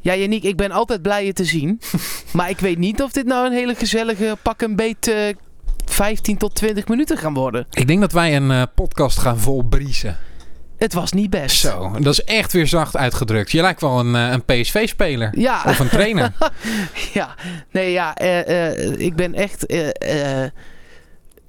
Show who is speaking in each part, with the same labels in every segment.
Speaker 1: Ja, Yannick, ik ben altijd blij je te zien. maar ik weet niet of dit nou een hele gezellige pak een beet eh, 15 tot 20 minuten gaan worden.
Speaker 2: Ik denk dat wij een eh, podcast gaan volbriezen.
Speaker 1: Het was niet best.
Speaker 2: Zo, dat is echt weer zacht uitgedrukt. Je lijkt wel een, eh, een PSV-speler.
Speaker 1: Ja.
Speaker 2: Of een trainer.
Speaker 1: Ja, nee, ja, eh, eh, ik ben echt. eh, eh,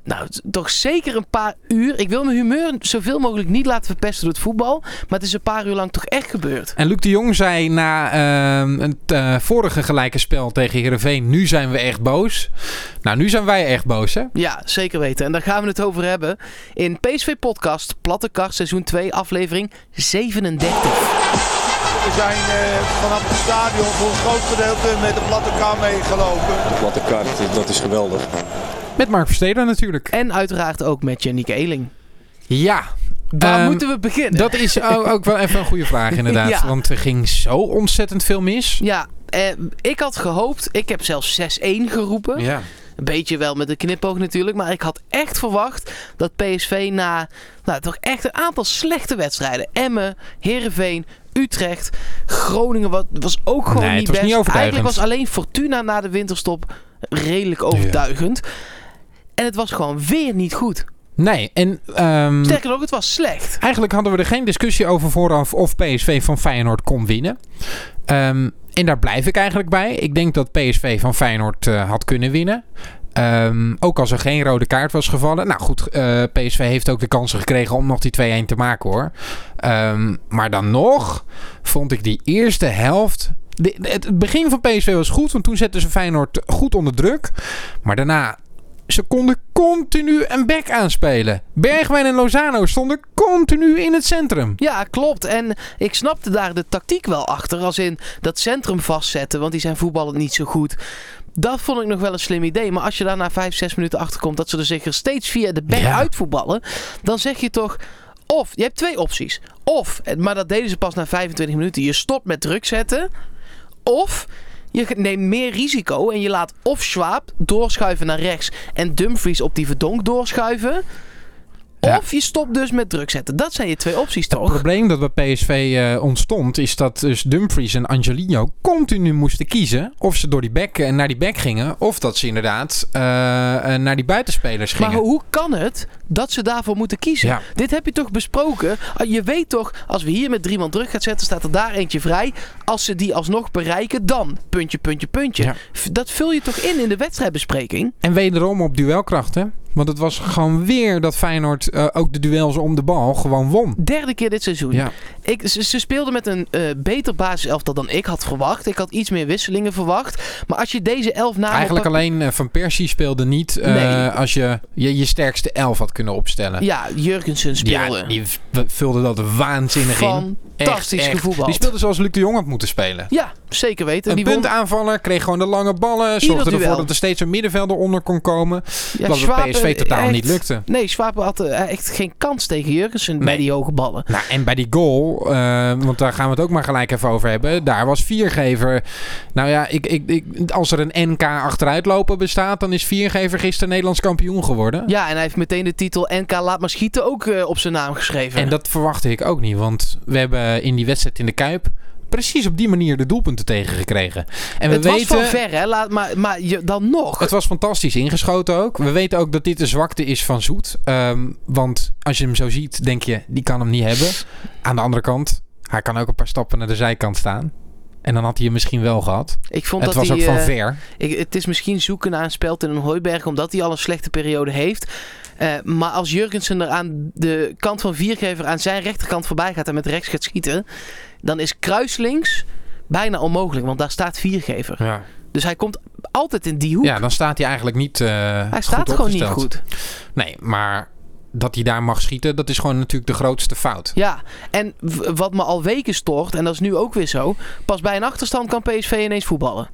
Speaker 1: nou, t- toch zeker een paar uur. Ik wil mijn humeur zoveel mogelijk niet laten verpesten door het voetbal. Maar het is een paar uur lang toch echt gebeurd.
Speaker 2: En Luc de Jong zei na ehm, het eh, vorige gelijke spel tegen Heerenveen... nu zijn we echt boos. Nou, nu zijn wij echt boos, hè?
Speaker 1: Ja, zeker weten. En daar gaan we het over hebben in PSV Podcast, Platte Kar, seizoen 2, aflevering 37.
Speaker 3: We zijn eh, vanaf het stadion voor een groot gedeelte met de platte kar meegelopen.
Speaker 4: De platte kaart, dat is geweldig.
Speaker 2: Met Mark Versteden natuurlijk.
Speaker 1: En uiteraard ook met Janiek Eeling.
Speaker 2: Ja,
Speaker 1: Waar
Speaker 2: Ehm,
Speaker 1: moeten we beginnen?
Speaker 2: dat is ook, ook wel even een goede vraag inderdaad.
Speaker 1: Ja.
Speaker 2: Want er ging zo ontzettend veel mis.
Speaker 1: Ja, eh, ik had gehoopt, ik heb zelfs 6-1 geroepen.
Speaker 2: Ja.
Speaker 1: Een beetje wel met een knipoog natuurlijk. Maar ik had echt verwacht dat PSV na nou, toch echt een aantal slechte wedstrijden. Emmen, Heerenveen, Utrecht, Groningen wat, was ook gewoon
Speaker 2: Nee, het
Speaker 1: niet
Speaker 2: was
Speaker 1: best.
Speaker 2: niet overtuigend.
Speaker 1: Eigenlijk was alleen Fortuna na de winterstop redelijk overtuigend. En het was gewoon weer niet goed.
Speaker 2: Mm. Nee, en... ehm,
Speaker 1: Sterker nog, het was slecht.
Speaker 2: Eigenlijk hadden we er geen discussie over vooraf of PSV van Feyenoord kon winnen. Ehm, en daar blijf ik eigenlijk bij. Ik denk dat PSV van Feyenoord eh, had kunnen winnen. Ehm, ook als er geen rode kaart was gevallen. Nou goed, eh, PSV heeft ook de kansen gekregen om nog die 2-1 te maken hoor. Ehm, maar dan nog vond ik die eerste helft. de- de- het begin van PSV was goed, want toen zetten ze Feyenoord goed onder druk. Maar daarna ze konden continu een back aanspelen. Bergwijn en Lozano stonden continu in het centrum.
Speaker 1: Ja, klopt. En ik snapte daar de tactiek wel achter. Als in dat centrum vastzetten, want die zijn voetballend niet zo goed. Dat vond ik nog wel een slim idee. Maar als je daar na 5, 6 minuten achter komt dat ze er zich er steeds via de back
Speaker 2: Ja.
Speaker 1: uitvoetballen. Dan zeg je toch. Of, je hebt twee opties. Of, en- maar dat deden ze pas na 25 minuten. Je stopt met druk zetten. Of je ge- neemt meer risico en je laat of Schwab doorschuiven naar rechts en Dumfries op die verdonk doorschuiven.
Speaker 2: Ja.
Speaker 1: Of je stopt dus met druk zetten. Dat zijn je twee opties
Speaker 2: Het
Speaker 1: toch?
Speaker 2: probleem dat bij PSV eh, ontstond is dat dus Dumfries en Angelino continu moesten kiezen of ze door die back en naar die back gingen of dat ze inderdaad eh, eh, naar die buitenspelers gingen.
Speaker 1: Maar hoe kan het dat ze daarvoor moeten kiezen?
Speaker 2: Ja.
Speaker 1: Dit heb je toch besproken? Ah, Je weet toch, als we hier met drie man druk gaan zetten, staat er daar eentje vrij. Als ze die alsnog bereiken, dan puntje, puntje, puntje.
Speaker 2: Ja.
Speaker 1: V- Dat vul je toch in in de wedstrijdbespreking?
Speaker 2: En wederom op duelkrachten, want het was gewoon weer dat Feyenoord eh, ook de duels om de bal gewoon won.
Speaker 1: Derde keer dit seizoen.
Speaker 2: Ja.
Speaker 1: Ik, ze, ze speelden met een eh, beter basiselftal dan ik had verwacht. Ik had iets meer wisselingen verwacht. Maar als je deze elf namen... op
Speaker 2: Eigenlijk
Speaker 1: pap-
Speaker 2: alleen eh, Van Persie speelde niet eh,
Speaker 1: Nee.
Speaker 2: als je, je je sterkste elf had kunnen opstellen.
Speaker 1: Ja, Jurgensen speelde.
Speaker 2: Ja, die v- vulde dat waanzinnig in.
Speaker 1: Fantastisch
Speaker 2: Echt, echt.
Speaker 1: gevoetbald.
Speaker 2: Die speelde zoals Luc de Jong had moeten spelen.
Speaker 1: Ja, zeker weten.
Speaker 2: Een
Speaker 1: die won-
Speaker 2: puntaanvaller, kreeg gewoon de lange ballen. Zorgde
Speaker 1: duel.
Speaker 2: ervoor dat er steeds een middenvelder onder kon komen.
Speaker 1: ja,
Speaker 2: dat het
Speaker 1: Schwab,
Speaker 2: PSV
Speaker 1: eh,
Speaker 2: totaal
Speaker 1: echt-
Speaker 2: niet lukte.
Speaker 1: Nee, Schwab had eh, echt geen kans tegen Jurgensen bij
Speaker 2: Nee.
Speaker 1: die hoge ballen.
Speaker 2: Nou, en bij die goal, eh, want daar gaan we het ook maar gelijk even over hebben. Daar was viergever. Nou ja, ik, ik, ik, als er een NK achteruitlopen bestaat, dan is viergever gisteren Nederlands kampioen geworden.
Speaker 1: Ja, en hij heeft meteen de titel NK Laat maar schieten ook eh, op zijn naam geschreven.
Speaker 2: En dat verwachtte ik ook niet, want we hebben in die wedstrijd in de Kuip precies op die manier de doelpunten tegengekregen. En we
Speaker 1: het
Speaker 2: weten,
Speaker 1: was van ver, hè? Laat, maar maar je, dan nog.
Speaker 2: Het was fantastisch ingeschoten ook. We weten ook dat dit de zwakte is van Zoet. Ehm, want als je hem zo ziet, denk je, die kan hem niet hebben. Aan de andere kant, hij kan ook een paar stappen naar de zijkant staan. En dan had hij hem misschien wel gehad.
Speaker 1: ik vond
Speaker 2: het
Speaker 1: dat
Speaker 2: was ook
Speaker 1: hij,
Speaker 2: van
Speaker 1: eh,
Speaker 2: ver.
Speaker 1: ik- het is misschien zoeken naar een speld in een hooiberg, omdat hij al een slechte periode heeft. Eh, maar als Jurgensen er aan de kant van Viergever aan zijn rechterkant voorbij gaat en met rechts gaat schieten, dan is kruislinks bijna onmogelijk, want daar staat Viergever.
Speaker 2: Ja.
Speaker 1: Dus hij komt altijd in die hoek.
Speaker 2: dan staat hij eigenlijk niet eh
Speaker 1: hij staat gewoon niet
Speaker 2: opgesteld.
Speaker 1: goed.
Speaker 2: Nee, maar dat hij daar mag schieten, dat is gewoon natuurlijk de grootste fout.
Speaker 1: Ja, en w- wat me al weken stoort, en dat is nu ook weer zo, pas bij een achterstand kan PSV ineens voetballen.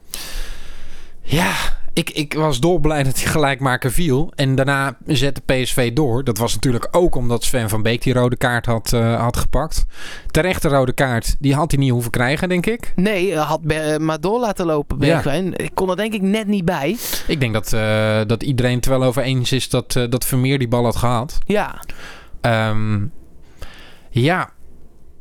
Speaker 2: Ja, ik, ik was dolblij dat die gelijkmaker viel. En daarna zette PSV door. Dat was natuurlijk ook omdat Sven van Beek die rode kaart had, eh, had gepakt. Terecht de rode kaart, die had hij niet hoeven krijgen, denk ik.
Speaker 1: Nee, eh, had Be- eh, maar door laten lopen Bergwijn. Ik kon er denk ik net niet bij.
Speaker 2: Ik denk dat, eh, dat iedereen het er wel over eens is dat, eh, dat Vermeer die bal had gehad.
Speaker 1: Ja,
Speaker 2: Ehm, ja.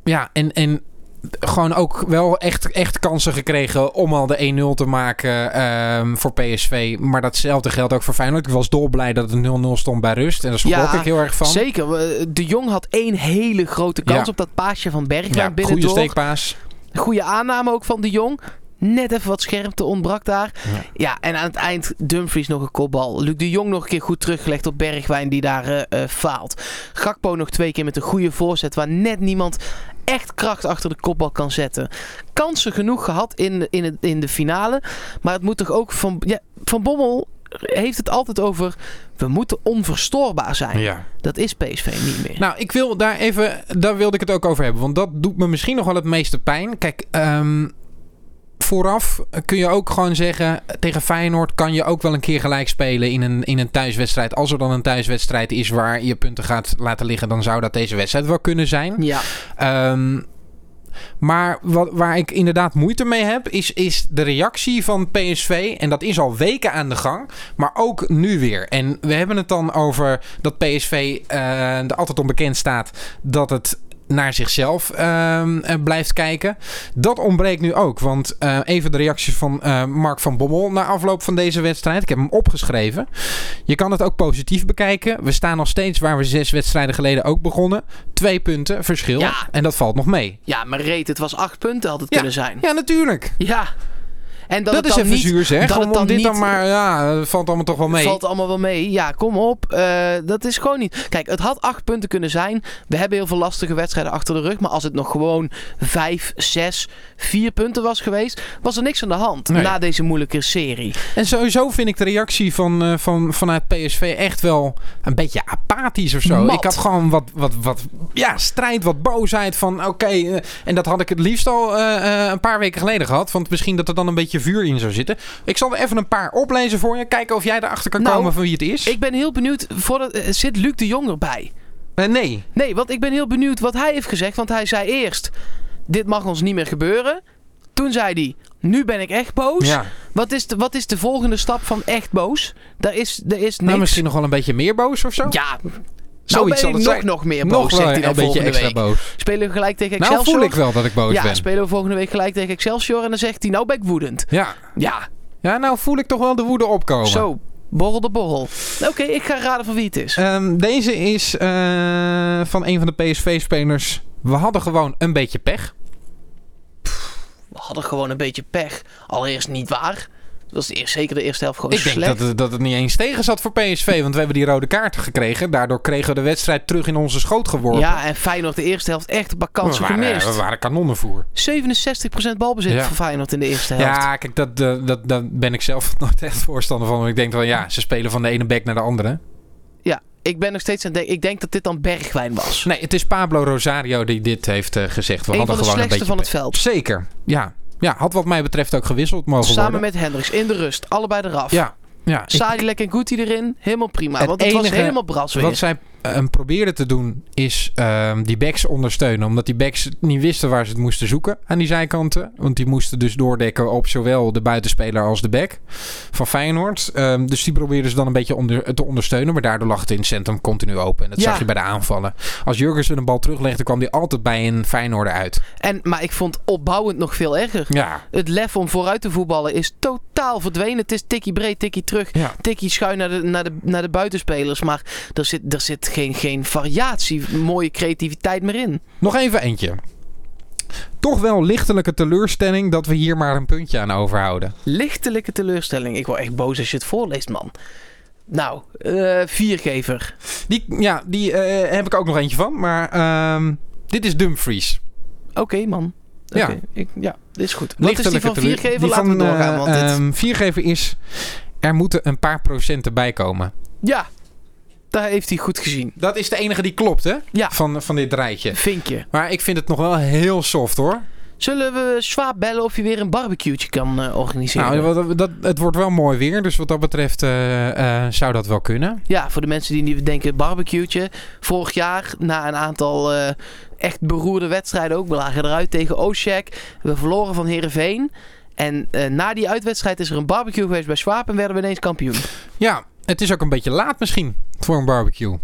Speaker 2: ja, en, en gewoon ook wel echt, echt kansen gekregen om al de 1-0 te maken ehm, voor PSV. Maar datzelfde geldt ook voor Feyenoord. Ik was dolblij dat het 0-0 stond bij rust. En daar schrok
Speaker 1: Ja,
Speaker 2: ik heel erg van.
Speaker 1: Zeker. we- eh, De Jong had één hele grote kans
Speaker 2: Ja.
Speaker 1: op dat paasje van
Speaker 2: Ja,
Speaker 1: Bergwijn binnen
Speaker 2: goede
Speaker 1: door.
Speaker 2: steekpaas.
Speaker 1: Goede aanname ook van de Jong. Net even wat scherpte ontbrak daar.
Speaker 2: Ja.
Speaker 1: Ja. en aan het eind Dumfries nog een kopbal. Luc de Jong nog een keer goed teruggelegd op Bergwijn die daar eh, eh, faalt. Gakpo nog twee keer met een goede voorzet waar net niemand echt kracht achter de kopbal kan zetten. Kansen genoeg gehad in, in, het, in de finale. Maar het moet toch ook van... Ja, van Bommel heeft het altijd over... We moeten onverstoorbaar zijn.
Speaker 2: Ja.
Speaker 1: Dat is PSV niet meer.
Speaker 2: Nou, ik wil daar even, daar wilde ik het ook over hebben. Want dat doet me misschien nog wel het meeste pijn. Kijk, ehm, vooraf kun je ook gewoon zeggen, tegen Feyenoord kan je ook wel een keer gelijk spelen in een, in een thuiswedstrijd. Als er dan een thuiswedstrijd is waar je punten gaat laten liggen, dan zou dat deze wedstrijd wel kunnen zijn.
Speaker 1: ja.
Speaker 2: Ehm, maar wat, waar ik inderdaad moeite mee heb, is, is de reactie van PSV. En dat is al weken aan de gang, maar ook nu weer. En we hebben het dan over dat PSV eh, er altijd onbekend staat dat het naar zichzelf ehm, eh, blijft kijken. Dat ontbreekt nu ook. Want eh, even de reactie van eh, Mark van Bommel na afloop van deze wedstrijd. Ik heb hem opgeschreven. Je kan het ook positief bekijken. We staan nog steeds waar we zes wedstrijden geleden ook begonnen. Twee punten verschil.
Speaker 1: Ja.
Speaker 2: En dat valt nog mee.
Speaker 1: ja, maar reet, het was acht punten had het kunnen zijn.
Speaker 2: Ja, natuurlijk.
Speaker 1: Ja. En dat,
Speaker 2: Dat,
Speaker 1: het
Speaker 2: is
Speaker 1: dan
Speaker 2: even
Speaker 1: niet,
Speaker 2: zuur zeg.
Speaker 1: dat
Speaker 2: om,
Speaker 1: het
Speaker 2: om
Speaker 1: dan
Speaker 2: dit
Speaker 1: niet-
Speaker 2: dan maar... Ja, eh, valt allemaal toch wel mee.
Speaker 1: Valt allemaal wel mee. Ja, kom op. Eh, dat is gewoon niet. Kijk, het had acht punten kunnen zijn. We hebben heel veel lastige wedstrijden achter de rug. Maar als het nog gewoon vijf, zes, vier punten was geweest, was er niks aan de hand
Speaker 2: Nee.
Speaker 1: na deze moeilijke serie.
Speaker 2: En sowieso vind ik de reactie van, eh, van, vanuit PSV echt wel een beetje apathisch of zo.
Speaker 1: Mat.
Speaker 2: Ik had gewoon wat, wat, wat ja, strijd, wat boosheid van oké. eh, en dat had ik het liefst al eh, eh, een paar weken geleden gehad. Want misschien dat er dan een beetje vuur in zou zitten. Ik zal er even een paar oplezen voor je. Kijken of jij erachter kan
Speaker 1: Nou,
Speaker 2: komen van wie het is.
Speaker 1: Ik ben heel benieuwd. Voor dat, eh, zit Luc de Jong erbij?
Speaker 2: Eh, nee.
Speaker 1: Nee, want ik ben heel benieuwd wat hij heeft gezegd. Want hij zei eerst: Dit mag ons niet meer gebeuren. Toen zei hij: Nu ben ik echt boos.
Speaker 2: Ja.
Speaker 1: Wat, is de, wat is de volgende stap van echt boos? Daar is, daar is niks.
Speaker 2: Nou, misschien nog wel een beetje meer boos of zo.
Speaker 1: Ja,
Speaker 2: Zoiets
Speaker 1: nou ben
Speaker 2: zal
Speaker 1: ik
Speaker 2: het
Speaker 1: nog,
Speaker 2: zijn.
Speaker 1: nog meer boos,
Speaker 2: nog wel
Speaker 1: zegt hij
Speaker 2: een,
Speaker 1: dan
Speaker 2: beetje
Speaker 1: volgende
Speaker 2: extra
Speaker 1: week.
Speaker 2: boos.
Speaker 1: Spelen we gelijk tegen
Speaker 2: Nou
Speaker 1: Excelsior?
Speaker 2: voel ik wel dat ik boos
Speaker 1: ja,
Speaker 2: ben.
Speaker 1: spelen we volgende week gelijk tegen Excelsior en dan zegt hij, nou ben ik woedend.
Speaker 2: Ja.
Speaker 1: Ja,
Speaker 2: ja, nou voel ik toch wel de woede opkomen.
Speaker 1: zo, borrel de borrel. Oké, ik ga raden van wie het is.
Speaker 2: Ehm, deze is eh, van een van de PSV-spelers. We hadden gewoon een beetje pech.
Speaker 1: We hadden gewoon een beetje pech. Allereerst niet waar. Dat was de eerste, zeker de eerste helft gewoon
Speaker 2: ik denk
Speaker 1: slecht.
Speaker 2: dat het, dat het niet eens tegen zat voor PSV. Want we hebben die rode kaarten gekregen. Daardoor kregen we de wedstrijd terug in onze schoot geworpen.
Speaker 1: ja, en Feyenoord de eerste helft echt een paar
Speaker 2: we
Speaker 1: kansen
Speaker 2: waren, we
Speaker 1: gemist.
Speaker 2: waren kanonnenvoer.
Speaker 1: 67% balbezit
Speaker 2: Ja.
Speaker 1: voor Feyenoord in de eerste helft.
Speaker 2: Ja, kijk, dat, eh, dat, daar ben ik zelf nooit echt voorstander van. Want ik denk wel, ja, ze spelen van de ene bek naar de andere.
Speaker 1: Ja, ik ben nog steeds aan het denken. Ik denk dat dit dan Bergwijn was.
Speaker 2: Nee, het is Pablo Rosario die dit heeft eh, gezegd. We
Speaker 1: Een
Speaker 2: hadden
Speaker 1: van de
Speaker 2: gewoon een beetje
Speaker 1: slechtste van het
Speaker 2: pech.
Speaker 1: veld.
Speaker 2: Zeker, ja. Ja, had wat mij betreft ook gewisseld mogen
Speaker 1: Samen
Speaker 2: worden.
Speaker 1: met Hendricks in de rust. Allebei eraf.
Speaker 2: Ja, ja. ik-
Speaker 1: Sadilek en Guti erin. Helemaal prima.
Speaker 2: Het
Speaker 1: want het was
Speaker 2: enige
Speaker 1: helemaal bras weer.
Speaker 2: Wat zij ehm, probeerden te doen is ehm, die backs ondersteunen. Omdat die backs niet wisten waar ze het moesten zoeken aan die zijkanten. Want die moesten dus doordekken op zowel de buitenspeler als de back van Feyenoord. Ehm, dus die probeerden ze dan een beetje onder, te ondersteunen. Maar daardoor lag het in het centrum continu open. En dat
Speaker 1: Ja.
Speaker 2: zag je bij de aanvallen. Als Jurgensen een bal teruglegde kwam die altijd bij een Feyenoorder uit.
Speaker 1: En, maar ik vond opbouwend nog veel erger.
Speaker 2: Ja,
Speaker 1: Het lef om vooruit te voetballen is totaal verdwenen. Het is tikkie breed, tikkie terug.
Speaker 2: ja.
Speaker 1: Tikkie schuin naar de, naar de, naar de buitenspelers. Maar er zit, er zit geen, geen variatie, mooie creativiteit meer in.
Speaker 2: Nog even eentje. Toch wel lichtelijke teleurstelling dat we hier maar een puntje aan overhouden.
Speaker 1: Lichtelijke teleurstelling. Ik word echt boos als je het voorleest, man. Nou, eh, viergever.
Speaker 2: Die, ja, die eh, heb ik ook nog eentje van. Maar ehm, dit is Dumfries.
Speaker 1: Oké, man.
Speaker 2: Ja.
Speaker 1: Oké, ik, ja, dit is goed. Wat is die
Speaker 2: Lichtelijke
Speaker 1: van
Speaker 2: teleur-
Speaker 1: viergever?
Speaker 2: die
Speaker 1: Laten
Speaker 2: van,
Speaker 1: we doorgaan.
Speaker 2: eh,
Speaker 1: Want dit-
Speaker 2: ehm, viergever is... Er moeten een paar procenten bij komen.
Speaker 1: ja, daar heeft hij goed gezien.
Speaker 2: Dat is de enige die klopt, hè?
Speaker 1: Ja.
Speaker 2: Van, van dit rijtje.
Speaker 1: Vinkje.
Speaker 2: Maar ik vind het nog wel heel soft, hoor.
Speaker 1: Zullen we Swaap bellen of je weer een barbecue'tje kan eh, organiseren?
Speaker 2: Nou, wat- dat, het wordt wel mooi weer. Dus wat dat betreft eh, eh, zou dat wel kunnen.
Speaker 1: Ja, voor de mensen die niet denken, barbecue'tje. Vorig jaar, na een aantal eh, echt beroerde wedstrijden ook. We lagen eruit tegen Oshek. We verloren van Herenveen. En eh, na die uitwedstrijd is er een barbecue geweest bij Swaap en werden we ineens kampioen.
Speaker 2: Ja, het is ook een beetje laat misschien voor een barbecue.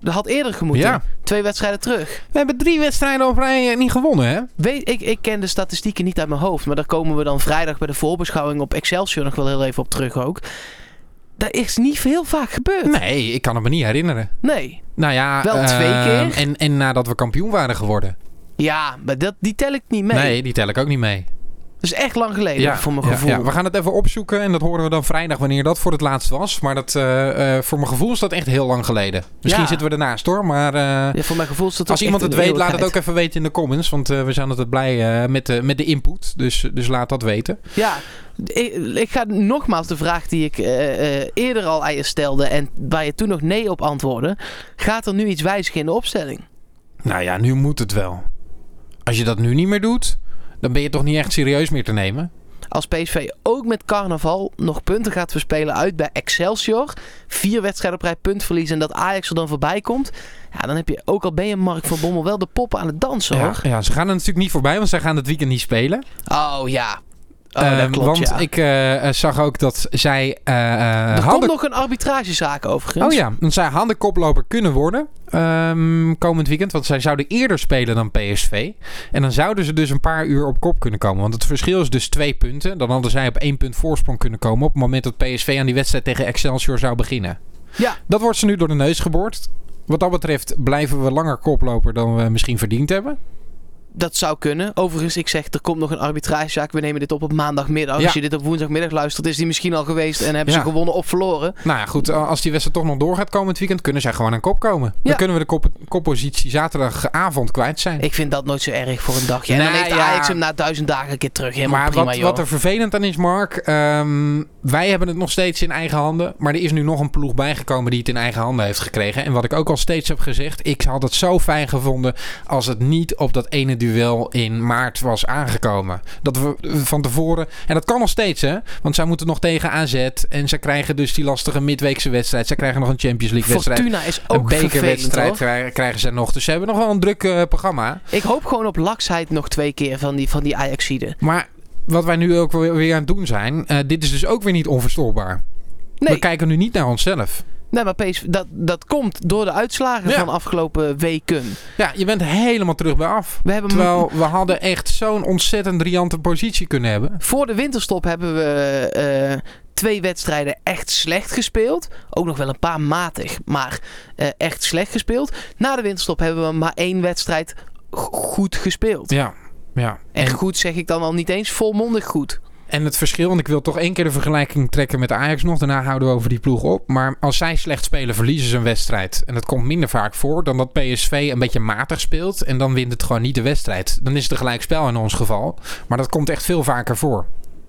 Speaker 1: Dat had eerder gemoeten.
Speaker 2: Ja.
Speaker 1: Twee wedstrijden terug.
Speaker 2: We hebben drie wedstrijden op rij eh, niet gewonnen, hè?
Speaker 1: Weet, ik, ik ken de statistieken niet uit mijn hoofd. Maar daar komen we dan vrijdag bij de voorbeschouwing op Excelsior nog wel heel even op terug ook. Dat is niet heel vaak gebeurd.
Speaker 2: Nee, ik kan het me niet herinneren.
Speaker 1: Nee.
Speaker 2: Nou ja,
Speaker 1: Wel twee
Speaker 2: ehm,
Speaker 1: keer.
Speaker 2: En, en nadat we kampioen waren geworden.
Speaker 1: Ja, maar dat, die tel ik niet mee.
Speaker 2: Nee, die tel ik ook niet mee.
Speaker 1: Dat is echt lang geleden voor mijn
Speaker 2: ja,
Speaker 1: gevoel.
Speaker 2: ja. we gaan het even opzoeken en dat horen we dan vrijdag wanneer dat voor het laatst was. Maar dat, eh, eh, voor mijn gevoel is dat echt heel lang geleden. Misschien
Speaker 1: Ja.
Speaker 2: zitten we ernaast hoor, maar eh,
Speaker 1: Ja, voor mijn gevoel is dat
Speaker 2: als
Speaker 1: ook
Speaker 2: iemand
Speaker 1: echt
Speaker 2: het
Speaker 1: een
Speaker 2: weet, laat het ook
Speaker 1: eeuwigheid.
Speaker 2: even weten in de comments. Want eh, we zijn altijd blij eh, met, de, met de input, dus, dus laat dat weten.
Speaker 1: Ja, ik, ik ga nogmaals de vraag die ik eh, eh, eerder al aan je stelde en waar je toen nog nee op antwoordde. Gaat er nu iets wijzigen in de opstelling?
Speaker 2: Nou ja, nu moet het wel. Als je dat nu niet meer doet, dan ben je toch niet echt serieus meer te nemen.
Speaker 1: Als PSV ook met carnaval nog punten gaat verspelen uit bij Excelsior. Vier wedstrijden op rij puntverlies en dat Ajax er dan voorbij komt. Ja, dan heb je ook al ben je Mark van Bommel wel de poppen aan het dansen
Speaker 2: Ja,
Speaker 1: hoor.
Speaker 2: ja, ze gaan er natuurlijk niet voorbij, want zij gaan het weekend niet spelen.
Speaker 1: Oh ja. Oh, dat
Speaker 2: Ehm,
Speaker 1: klopt,
Speaker 2: want
Speaker 1: ja.
Speaker 2: ik eh, eh, zag ook dat zij eh, eh
Speaker 1: er komt
Speaker 2: hadden...
Speaker 1: nog een arbitragezaak overigens.
Speaker 2: Oh ja, want zij hadden koploper kunnen worden ehm, komend weekend. Want zij zouden eerder spelen dan PSV. En dan zouden ze dus een paar uur op kop kunnen komen. Want het verschil is dus twee punten. Dan hadden zij op één punt voorsprong kunnen komen... op het moment dat PSV aan die wedstrijd tegen Excelsior zou beginnen.
Speaker 1: Ja.
Speaker 2: Dat wordt ze nu door de neus geboord. Wat dat betreft blijven we langer koploper dan we misschien verdiend hebben.
Speaker 1: Dat zou kunnen. Overigens, ik zeg, er komt nog een arbitragezaak. We nemen dit op op maandagmiddag.
Speaker 2: Ja.
Speaker 1: Als je dit op woensdagmiddag luistert, is die misschien al geweest en hebben
Speaker 2: Ja.
Speaker 1: ze gewonnen of verloren.
Speaker 2: Nou ja, goed. Als die wedstrijd toch nog doorgaat komend weekend... kunnen zij gewoon aan kop komen.
Speaker 1: Ja.
Speaker 2: Dan kunnen we de kop- koppositie zaterdagavond kwijt zijn.
Speaker 1: Ik vind dat nooit zo erg voor een dagje. En dan
Speaker 2: Nou
Speaker 1: heeft
Speaker 2: ja.
Speaker 1: Ajax hem na duizend dagen een keer terug. Helemaal
Speaker 2: maar
Speaker 1: prima,
Speaker 2: wat,
Speaker 1: joh.
Speaker 2: wat er vervelend aan is, Mark, ehm, wij hebben het nog steeds in eigen handen. Maar er is nu nog een ploeg bijgekomen die het in eigen handen heeft gekregen. En wat ik ook al steeds heb gezegd, ik had het zo fijn gevonden als het niet op dat ene duel in maart was aangekomen. Dat we eh, van tevoren, en dat kan nog steeds hè, want zij moeten nog tegen AZ. En zij krijgen dus die lastige midweekse wedstrijd. Zij krijgen nog een Champions League wedstrijd.
Speaker 1: Fortuna is
Speaker 2: Een
Speaker 1: ook vervelend,
Speaker 2: bekerwedstrijd
Speaker 1: hoor.
Speaker 2: krijgen, krijgen ze nog. Dus ze hebben nog wel een druk eh, programma.
Speaker 1: Ik hoop gewoon op laksheid nog twee keer van die, van die Ajaxide.
Speaker 2: Maar wat wij nu ook weer weer aan het doen zijn, eh, dit is dus ook weer niet onverstoorbaar.
Speaker 1: Nee,
Speaker 2: We kijken nu niet naar onszelf.
Speaker 1: nee maar PSV, dat, dat komt door de uitslagen
Speaker 2: Ja.
Speaker 1: van afgelopen weken.
Speaker 2: Ja, je bent helemaal terug bij af.
Speaker 1: We hebben
Speaker 2: Terwijl we hadden echt zo'n ontzettend briljante positie kunnen hebben.
Speaker 1: Voor de winterstop hebben we eh, twee wedstrijden echt slecht gespeeld. Ook nog wel een paar matig, maar eh, echt slecht gespeeld. Na de winterstop hebben we maar één wedstrijd go- goed gespeeld.
Speaker 2: Ja, ja.
Speaker 1: En
Speaker 2: En,
Speaker 1: goed zeg ik dan al niet eens volmondig goed.
Speaker 2: en het verschil, want ik wil toch één keer de vergelijking trekken met Ajax nog. Daarna houden we over die ploeg op. Maar als zij slecht spelen, verliezen ze een wedstrijd. En dat komt minder vaak voor dan dat PSV een beetje matig speelt. En dan wint het gewoon niet de wedstrijd. Dan is het een gelijkspel in ons geval. Maar dat komt echt veel vaker voor.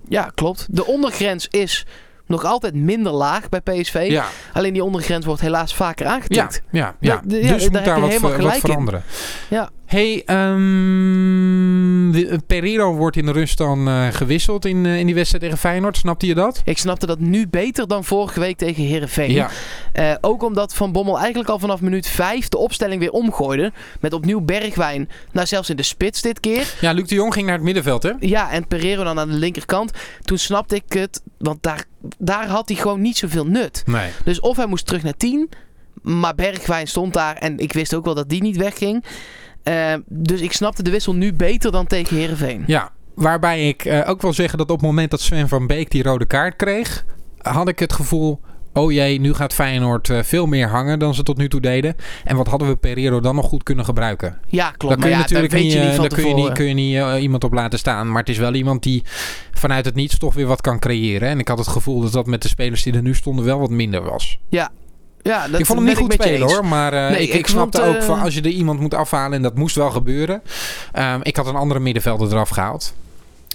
Speaker 1: Ja, klopt. De ondergrens is nog altijd minder laag bij PSV.
Speaker 2: Ja.
Speaker 1: Alleen die ondergrens wordt helaas vaker
Speaker 2: Ja,
Speaker 1: aangetikt.
Speaker 2: ja, ja.
Speaker 1: Ja, d- ja,
Speaker 2: dus
Speaker 1: daar
Speaker 2: moet
Speaker 1: heb
Speaker 2: daar
Speaker 1: je
Speaker 2: wat,
Speaker 1: helemaal
Speaker 2: ver- wat
Speaker 1: gelijk in.
Speaker 2: veranderen.
Speaker 1: Ja.
Speaker 2: Hey, ehm, de- Pereiro wordt in de rust dan eh, gewisseld in, eh, in die wedstrijd tegen Feyenoord. Snapte je dat?
Speaker 1: Ik snapte dat nu beter dan vorige week tegen Herenveen.
Speaker 2: Ja,
Speaker 1: Eh, ook omdat Van Bommel eigenlijk al vanaf minuut 5 de opstelling weer omgooide. Met opnieuw Bergwijn, nou zelfs in de spits dit keer.
Speaker 2: ja Luc de Jong ging naar het middenveld, hè?
Speaker 1: Ja, en Pereiro dan aan de linkerkant. Toen snapte ik het, want daar, daar had hij gewoon niet zoveel nut.
Speaker 2: Nee.
Speaker 1: Dus of hij moest terug naar 10, maar Bergwijn stond daar en ik wist ook wel dat die niet wegging. Eh, dus ik snapte de wissel nu beter dan tegen Herenveen.
Speaker 2: Ja, waarbij ik eh, ook wil zeggen dat op het moment dat Sven van Beek die rode kaart kreeg, had ik het gevoel. Oh jee, nu gaat Feyenoord eh, veel meer hangen dan ze tot nu toe deden. En wat hadden we Pereiro dan nog goed kunnen gebruiken?
Speaker 1: Ja, klopt.
Speaker 2: Dan kun je
Speaker 1: maar ja,
Speaker 2: natuurlijk
Speaker 1: dat weet
Speaker 2: niet,
Speaker 1: je
Speaker 2: eh,
Speaker 1: niet van
Speaker 2: daar kun je
Speaker 1: tevoren.
Speaker 2: niet, kun je niet eh, iemand op laten staan. Maar het is wel iemand die vanuit het niets toch weer wat kan creëren. En ik had het gevoel dat dat met de spelers die er nu stonden wel wat minder was.
Speaker 1: Ja, dat
Speaker 2: ik vond hem niet
Speaker 1: ben
Speaker 2: goed
Speaker 1: met je
Speaker 2: spelen
Speaker 1: eens.
Speaker 2: hoor. Maar eh,
Speaker 1: Nee,
Speaker 2: ik, ik
Speaker 1: ik
Speaker 2: snapte
Speaker 1: vond,
Speaker 2: ook
Speaker 1: eh,
Speaker 2: van als je er iemand moet afhalen. En dat moest wel gebeuren. Ehm, ik had een andere middenvelder eraf gehaald.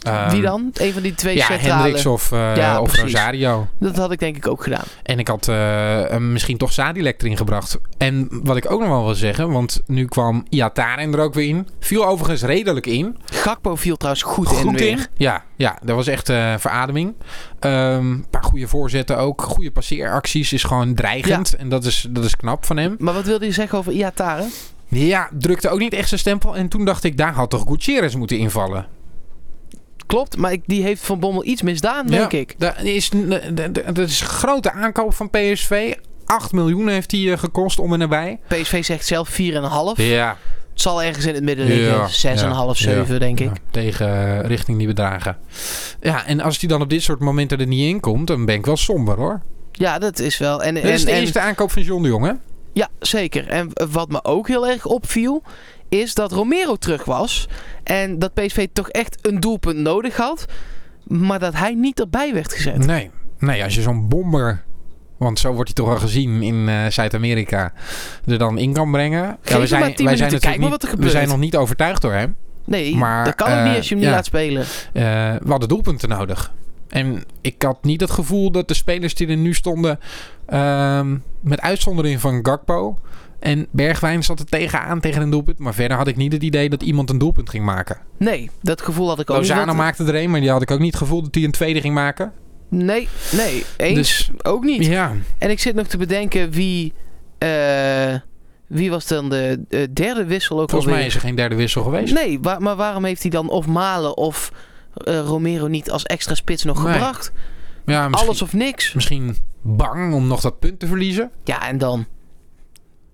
Speaker 2: Ehm,
Speaker 1: Wie dan? Een van die twee
Speaker 2: Ja,
Speaker 1: centrale.
Speaker 2: Hendricks of, eh,
Speaker 1: Ja,
Speaker 2: of
Speaker 1: precies.
Speaker 2: Rosario.
Speaker 1: Dat had ik denk ik ook gedaan.
Speaker 2: En ik had eh, eh, misschien toch Sadilek erin gebracht. En wat ik ook nog wel wil zeggen. Want nu kwam Iataren er ook weer in. Viel overigens redelijk in.
Speaker 1: Gakpo viel trouwens goed, in.
Speaker 2: Goed
Speaker 1: weer.
Speaker 2: in. Ja, ja, dat was echt eh, verademing. Ehm, Een paar goede voorzetten ook. Goede passeeracties is gewoon dreigend. En dat is, dat is knap van hem.
Speaker 1: Maar wat wilde je zeggen over Iatare?
Speaker 2: Ja, drukte ook niet echt zijn stempel. En toen dacht ik, daar had toch Gutierrez moeten invallen.
Speaker 1: Klopt, maar ik- die heeft Van Bommel iets misdaan, denk
Speaker 2: Ja,
Speaker 1: ik.
Speaker 2: Dat is, dat dat is een grote aankoop van PSV. 8 miljoen heeft hij eh, gekost om en nabij.
Speaker 1: PSV zegt zelf 4,5.
Speaker 2: Ja,
Speaker 1: Het zal ergens in het midden liggen.
Speaker 2: Ja,
Speaker 1: 6,5,
Speaker 2: ja,
Speaker 1: 7 denk ik.
Speaker 2: ja, tegen eh, richting die bedragen. Ja, en als hij dan op dit soort momenten er niet in komt, dan ben ik wel somber hoor.
Speaker 1: Ja, dat is wel. En,
Speaker 2: Dit is
Speaker 1: en-
Speaker 2: de
Speaker 1: en-
Speaker 2: eerste aankoop van John de Jong, hè?
Speaker 1: Ja, zeker. En wat me ook heel erg opviel, is dat Romero terug was. En dat PSV toch echt een doelpunt nodig had. Maar dat hij niet erbij werd gezet.
Speaker 2: Nee. nee, als je zo'n bomber, want zo wordt hij toch al gezien in eh, Zuid-Amerika, er dan in kan brengen.
Speaker 1: Geef hem maar 10 minuten,
Speaker 2: natuurlijk
Speaker 1: kijk maar
Speaker 2: niet-
Speaker 1: wat er
Speaker 2: We
Speaker 1: gebeurt.
Speaker 2: zijn nog niet overtuigd door hem.
Speaker 1: Nee,
Speaker 2: Maar,
Speaker 1: dat kan ook
Speaker 2: eh,
Speaker 1: niet als je hem niet
Speaker 2: ja.
Speaker 1: laat spelen.
Speaker 2: Eh, we hadden doelpunten nodig. En ik had niet het gevoel dat de spelers die er nu stonden, ehm, met uitzondering van Gakpo en Bergwijn zat er tegenaan tegen een doelpunt. Maar verder had ik niet het idee dat iemand een doelpunt ging maken.
Speaker 1: Nee, dat gevoel had ik ook niet.
Speaker 2: Lozano
Speaker 1: Want-
Speaker 2: maakte er een, maar die had ik ook niet het gevoel dat hij een tweede ging maken.
Speaker 1: Nee, nee, eens
Speaker 2: Dus
Speaker 1: ook niet.
Speaker 2: ja,
Speaker 1: En ik zit nog te bedenken wie... eh, wie was dan de eh, derde wissel ook
Speaker 2: volgens mij
Speaker 1: alweer?
Speaker 2: is er geen derde wissel geweest.
Speaker 1: Nee, wa- maar waarom heeft hij dan of Malen of eh, Romero niet als extra spits nog
Speaker 2: Nee.
Speaker 1: gebracht?
Speaker 2: Ja, misschien,
Speaker 1: Alles of niks.
Speaker 2: misschien bang om nog dat punt te verliezen.
Speaker 1: Ja, en dan?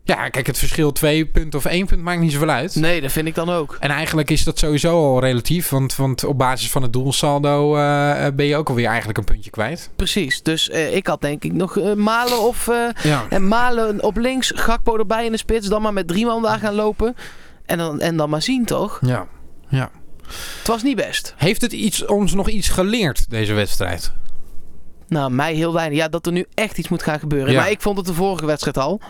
Speaker 2: Ja, kijk, het verschil twee punt of één punt maakt niet zoveel uit.
Speaker 1: Nee, dat vind ik dan ook.
Speaker 2: En eigenlijk is dat sowieso al relatief, want, want op basis van het doelsaldo eh, eh, ben je ook alweer eigenlijk een puntje kwijt.
Speaker 1: Precies. Dus eh, ik had denk ik nog eh, Malen of... eh,
Speaker 2: Ja.
Speaker 1: en Malen op links, Gakpo erbij in de spits. Dan maar met drie man daar gaan lopen. En dan, en dan maar zien, toch?
Speaker 2: ja.
Speaker 1: Het was niet best.
Speaker 2: Heeft het iets, ons nog iets geleerd, deze wedstrijd?
Speaker 1: Nou, mij heel weinig. Ja, dat er nu echt iets moet gaan gebeuren.
Speaker 2: Ja.
Speaker 1: Maar ik vond het de vorige wedstrijd al.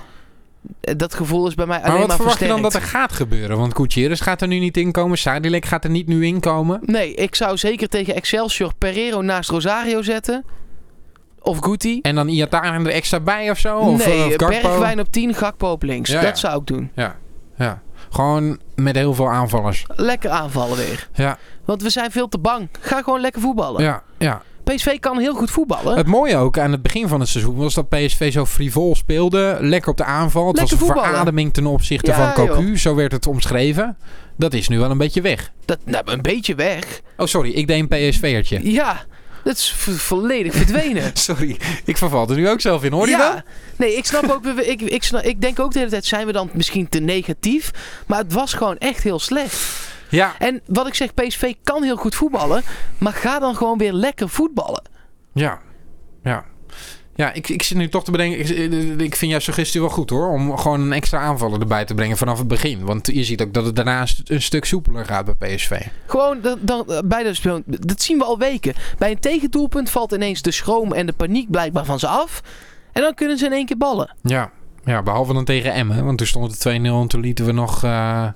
Speaker 1: Eh, Dat gevoel is bij mij alleen
Speaker 2: maar
Speaker 1: maar,
Speaker 2: wat verwacht je
Speaker 1: versterkt.
Speaker 2: dan dat er gaat gebeuren? Want Gutierrez gaat er nu niet in komen, Sadilek gaat er niet nu in komen.
Speaker 1: Nee, ik zou zeker tegen Excelsior Pereiro naast Rosario zetten. Of Guti.
Speaker 2: En dan Iataren er extra bij of zo? Oh, Of, eh,
Speaker 1: nee,
Speaker 2: of Gakpo?
Speaker 1: Bergwijn op 10, Gakpo op links.
Speaker 2: Ja,
Speaker 1: dat
Speaker 2: ja.
Speaker 1: zou ik doen.
Speaker 2: Ja, ja. Gewoon met heel veel aanvallers.
Speaker 1: Lekker aanvallen weer.
Speaker 2: Ja,
Speaker 1: Want we zijn veel te bang. Ga gewoon lekker voetballen.
Speaker 2: ja, ja.
Speaker 1: PSV kan heel goed voetballen.
Speaker 2: Het mooie ook aan het begin van het seizoen was dat PSV zo frivol speelde. Lekker op de aanval. Het
Speaker 1: Lekker
Speaker 2: was een
Speaker 1: voetballen.
Speaker 2: verademing ten opzichte
Speaker 1: Ja,
Speaker 2: van Cocu. Zo werd het omschreven. Dat is nu wel een beetje weg.
Speaker 1: dat, nou, een beetje weg.
Speaker 2: Oh, sorry. Ik deed een PSV'ertje.
Speaker 1: Ja, dat is vo- volledig verdwenen.
Speaker 2: Sorry. Ik verval er nu ook zelf in. Hoor je
Speaker 1: ja.
Speaker 2: dat?
Speaker 1: Nee, ik snap ook. weer- Ik, ik, snap, ik denk ook de hele tijd: zijn we dan misschien te negatief? Maar het was gewoon echt heel slecht.
Speaker 2: Ja.
Speaker 1: En wat ik zeg, PSV kan heel goed voetballen. Maar ga dan gewoon weer lekker voetballen.
Speaker 2: Ja. Ja. Ja, ik, ik zit nu toch te bedenken. Ik, ik vind jouw suggestie wel goed hoor. Om gewoon een extra aanvaller erbij te brengen vanaf het begin. Want je ziet ook dat het daarna een st- een stuk soepeler gaat bij PSV.
Speaker 1: Gewoon, dan, dan, bij de, speel- dat zien we al weken. Bij een tegendoelpunt valt ineens de schroom en de paniek blijkbaar van ze af. En dan kunnen ze in één keer ballen.
Speaker 2: Ja, ja behalve dan tegen Emmen. Want toen stond het 2-0 en toen lieten we nog eh,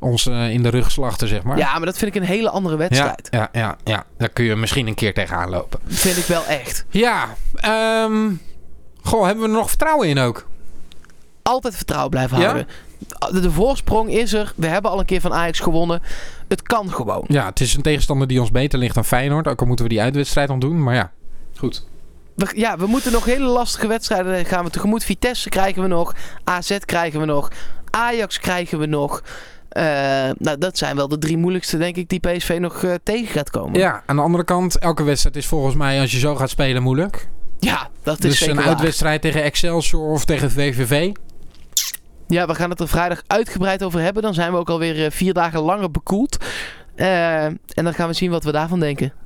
Speaker 2: ons eh, in de rug slachten, zeg maar.
Speaker 1: Ja, maar dat vind ik een hele andere
Speaker 2: ja,
Speaker 1: wedstrijd.
Speaker 2: ja, ja, ja. Daar kun je misschien een keer tegenaan lopen.
Speaker 1: Vind ik wel echt.
Speaker 2: Ja, ehm, goh, hebben we er nog vertrouwen in ook?
Speaker 1: altijd vertrouwen blijven
Speaker 2: Ja?
Speaker 1: houden. De, de voorsprong is er. We hebben al een keer van Ajax gewonnen. Het kan gewoon.
Speaker 2: Ja, het is een tegenstander die ons beter ligt dan Feyenoord. Ook al moeten we die uitwedstrijd dan doen, maar ja. Goed.
Speaker 1: We, ja, we moeten nog hele lastige wedstrijden gaan we tegemoet. Vitesse krijgen we nog. AZ krijgen we nog. Ajax krijgen we nog. Eh, nou, dat zijn wel de drie moeilijkste, denk ik, die PSV nog eh, tegen gaat komen.
Speaker 2: Ja, aan de andere kant, elke wedstrijd is volgens mij als je zo gaat spelen moeilijk.
Speaker 1: Ja, dat is
Speaker 2: Dus
Speaker 1: zeker
Speaker 2: een
Speaker 1: waar.
Speaker 2: uitwedstrijd tegen Excelsior of tegen VVV.
Speaker 1: Ja, we gaan het er vrijdag uitgebreid over hebben. Dan zijn we ook alweer eh, vier dagen langer bekoeld. Eh, en dan gaan we zien wat we daarvan denken.